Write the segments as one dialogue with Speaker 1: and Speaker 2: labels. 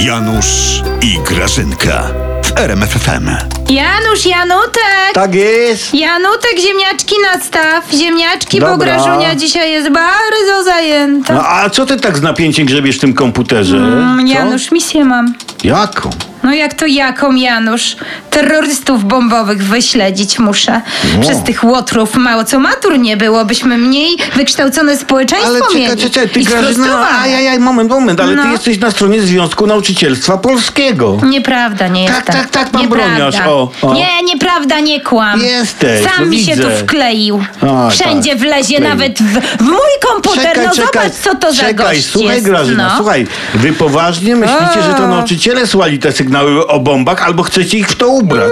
Speaker 1: Janusz i Grażynka w RMFFM.
Speaker 2: Janusz, Janutek!
Speaker 3: Tak jest.
Speaker 2: Janutek, ziemniaczki nastaw, ziemniaczki, bo
Speaker 3: Dobra.
Speaker 2: Grażunia dzisiaj jest bardzo zajęta.
Speaker 3: No a co ty tak z napięciem grzebiesz w tym komputerze?
Speaker 2: Mm,
Speaker 3: Co?
Speaker 2: Janusz, misję mam.
Speaker 3: Jaką?
Speaker 2: No jak to jaką, Janusz? Terrorystów bombowych wyśledzić muszę.
Speaker 3: No.
Speaker 2: Przez tych łotrów mało co matur nie było, byśmy mniej wykształcone społeczeństwo
Speaker 3: Ale czekaj,
Speaker 2: mieli.
Speaker 3: czekaj, ty
Speaker 2: I
Speaker 3: Grażyna,
Speaker 2: sfrustrowane.
Speaker 3: ajajaj, moment, moment, ale
Speaker 2: No. Mm,
Speaker 3: ty jesteś na stronie Związku Nauczycielstwa Polskiego.
Speaker 2: Nieprawda, nie
Speaker 3: Tak,
Speaker 2: jestem.
Speaker 3: tak, tak, pan
Speaker 2: Nieprawda.
Speaker 3: broniarz, o, o.
Speaker 2: Nie, nieprawda, nie kłam.
Speaker 3: Jesteś,
Speaker 2: Sam
Speaker 3: no
Speaker 2: mi się
Speaker 3: widzę.
Speaker 2: tu wkleił.
Speaker 3: A,
Speaker 2: Wszędzie
Speaker 3: tak,
Speaker 2: wlezie,
Speaker 3: wkleił.
Speaker 2: nawet w, w mój komputer.
Speaker 3: Czekaj,
Speaker 2: no
Speaker 3: czekaj,
Speaker 2: zobacz, co to za
Speaker 3: czekaj,
Speaker 2: gość
Speaker 3: słuchaj
Speaker 2: jest.
Speaker 3: Grażyna,
Speaker 2: no.
Speaker 3: słuchaj, wy poważnie myślicie, że to nauczyciele słali te sygnały o bombach albo chcecie ich w to ubrać?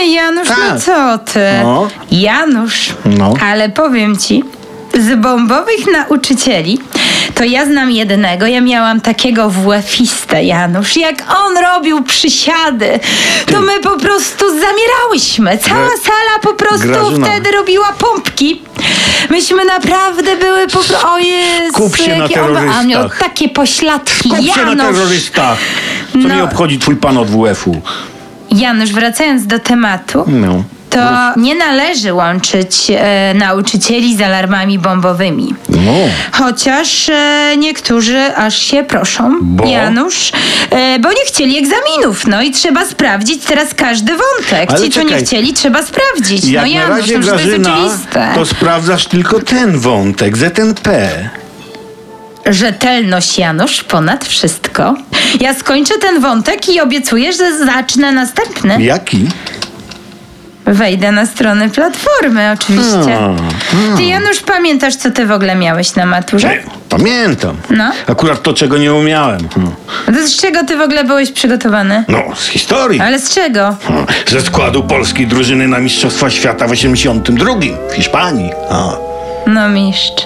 Speaker 2: Nie, Janusz, no
Speaker 3: Tak.
Speaker 2: co ty?
Speaker 3: No.
Speaker 2: Janusz,
Speaker 3: No.
Speaker 2: ale powiem ci, z bombowych nauczycieli to ja znam jednego. Ja miałam takiego WF-istę, Janusz. Jak on robił przysiady, to my po prostu zamierałyśmy. Cała
Speaker 3: Gra-
Speaker 2: sala po prostu
Speaker 3: Grażyna.
Speaker 2: wtedy robiła pompki. Myśmy naprawdę były po prostu... O Jezu,
Speaker 3: Skup się na
Speaker 2: jaki on- A on miał
Speaker 3: terrorystach.
Speaker 2: takie pośladki.
Speaker 3: Skup się na
Speaker 2: Janusz!
Speaker 3: terrorystach. Co
Speaker 2: No.
Speaker 3: mnie obchodzi twój pan od WF-u?
Speaker 2: Janusz, wracając do tematu...
Speaker 3: No.
Speaker 2: To nie należy łączyć e, nauczycieli z alarmami bombowymi.
Speaker 3: No.
Speaker 2: Chociaż e, niektórzy aż się proszą,
Speaker 3: Bo?
Speaker 2: Janusz, e, bo nie chcieli egzaminów. No i trzeba sprawdzić teraz każdy wątek.
Speaker 3: Ale
Speaker 2: Ci, co nie
Speaker 3: czekaj.
Speaker 2: chcieli, trzeba sprawdzić.
Speaker 3: Jak
Speaker 2: no
Speaker 3: na
Speaker 2: Janusz,
Speaker 3: razie
Speaker 2: no przecież
Speaker 3: Grażyna,
Speaker 2: to jest oczywiste.
Speaker 3: to sprawdzasz tylko ten wątek, ZNP.
Speaker 2: Rzetelność, Janusz, ponad wszystko. Ja skończę ten wątek i obiecuję, że zacznę następny.
Speaker 3: Jaki?
Speaker 2: Wejdę na stronę platformy, oczywiście.
Speaker 3: Hmm,
Speaker 2: Ty, Janusz, pamiętasz, co ty w ogóle miałeś na maturze?
Speaker 3: Nie, Pamiętam.
Speaker 2: No.
Speaker 3: Akurat to, czego nie umiałem. Hmm.
Speaker 2: To z czego ty w ogóle byłeś przygotowany?
Speaker 3: No, z historii.
Speaker 2: Ale z czego?
Speaker 3: Hmm. Ze składu polskiej drużyny na Mistrzostwa Świata w 82 w Hiszpanii. A.
Speaker 2: No mistrz.